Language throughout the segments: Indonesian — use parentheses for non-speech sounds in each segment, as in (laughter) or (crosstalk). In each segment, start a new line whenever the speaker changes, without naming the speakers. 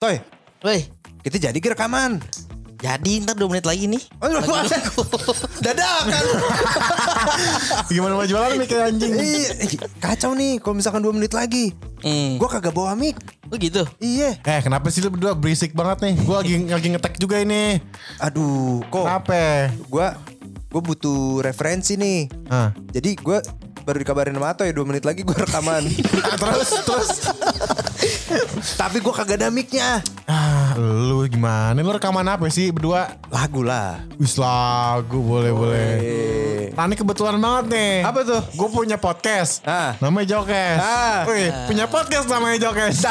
Toy,
Woi,
kita jadi ke rekaman.
jadi ntar 2 menit lagi nih.
Oh, lu
Lagu
(laughs)
ada.
aku.
Dadakan.
Gimana mau jualan mikir anjing.
Ih, ih, Iya. Kacau nih kalau misalkan 2 menit lagi.
Hmm.
Gua kagak bawa mic.
Lu gitu.
Iya.
Eh kenapa sih lu berdua berisik banget nih? Gua lagi lagi ngetek juga ini.
Aduh, kok
Kenapa?
gua gua butuh referensi nih.
Hah.
Jadi gua baru dikabarin sama Toy 2 menit lagi gua rekaman.
(laughs) Ah, terus terus.
Tapi gua kagak ada mic-nya.
Ah, lu gimana? Lu rekaman apa sih berdua?
Lagu lah.
Wis lagu boleh boleh.
Eh.
Nah ini kebetulan banget nih.
Apa tuh?
Gue punya podcast.
Ah.
Namanya Jokes.
Ah.
Wih, punya podcast namanya Jokes.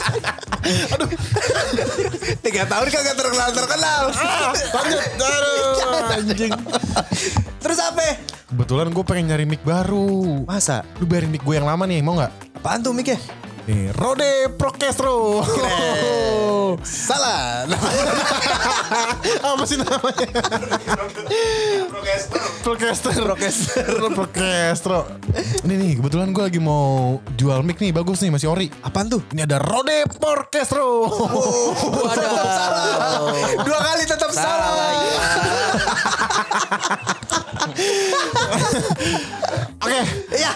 (laughs)
Tiga tahun kagak terkenal terkenal.
Ah. Lanjut. Aduh, anjing.
Terus apa?
Kebetulan gue pengen nyari mic baru.
Masa?
Lu biarin mic gue yang lama nih, mau nggak?
Apaan tuh ya? mic-nya?
Nih, Rode Procastro. (laughs)
Salah.
Apa sih namanya? Procastro.
Rockcaster.
Rode Procastro. Ini nih, kebetulan gue lagi mau jual mic nih, bagus nih, masih ori.
(laughs) Apaan tuh?
Ini ada Rode Procastro.
Tetap salah. Dua kali tetap Oh. salah. iya.
Oke.
Iya.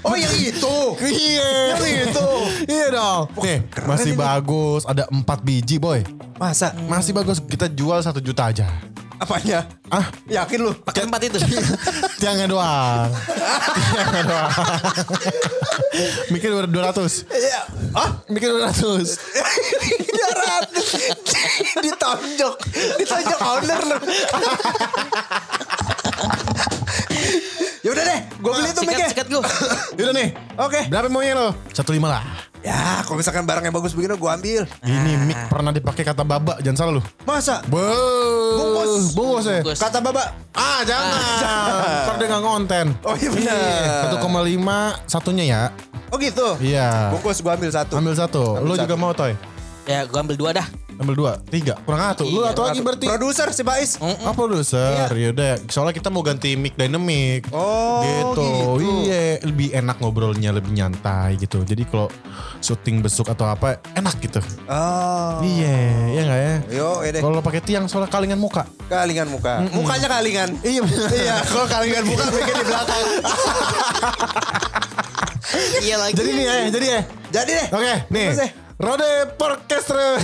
Oh yang itu.
Iya.
itu.
Iya dong. Nih,
gitu. keren
masih
ini.
bagus. Ada 4 biji, boy.
Masa?
Masih bagus. Kita jual 1 juta aja.
Apanya?
Ah,
Yakin lu?
Pakai empat (laughs) itu.
tiangnya doang. tiangnya doang. Mikir 200.
Iya. Ah?
Mikir 200.
Eh. Jaran. (laughs) Ditonjok. Ditonjok owner lu. (laughs) Yaudah Ya deh, gue beli tuh mic-nya.
Sikat, sikat gua.
Yaudah nih.
Oke.
Berapa maunya lo? 1,5 lah.
Ya, kalau misalkan barang yang bagus begini gue ambil.
Ini
Ah.
mic pernah dipakai kata baba, jangan salah lu.
Masa?
Bungkus.
Bungkus.
Bungkus ya.
Bungkus.
Kata Baba.
Ah, jangan. (laughs) Ntar dia nggak konten.
Oh iya benar.
1,5 satunya ya.
Oh gitu.
Iya.
Bungkus gue ambil satu.
Ambil satu.
Ambil
Lu
satu.
juga mau toy?
Ya, gua ambil dua dah.
Ambil dua, tiga, kurang satu. Lu
Iya,
satu lagi berarti. Oh.
Produser si Bais.
Apa produser? Yaudah, soalnya kita mau ganti mic dynamic.
Iya. Oh,
gitu.
gitu.
Iya, lebih enak ngobrolnya, lebih nyantai gitu. Jadi kalau syuting besok atau apa, enak gitu.
Oh.
Iya, iya enggak ya?
Yo, ini
Kalau pakai tiang soalnya kalingan muka.
kalingan muka. Mukanya kalingan.
(laughs) Iya, bener.
iya, kalau kalingan muka bikin di belakang.
Iya lagi.
jadi nih ya, jadi ya.
eh. Jadi deh.
Oke, nih.
Terus deh.
Rode Orkestra.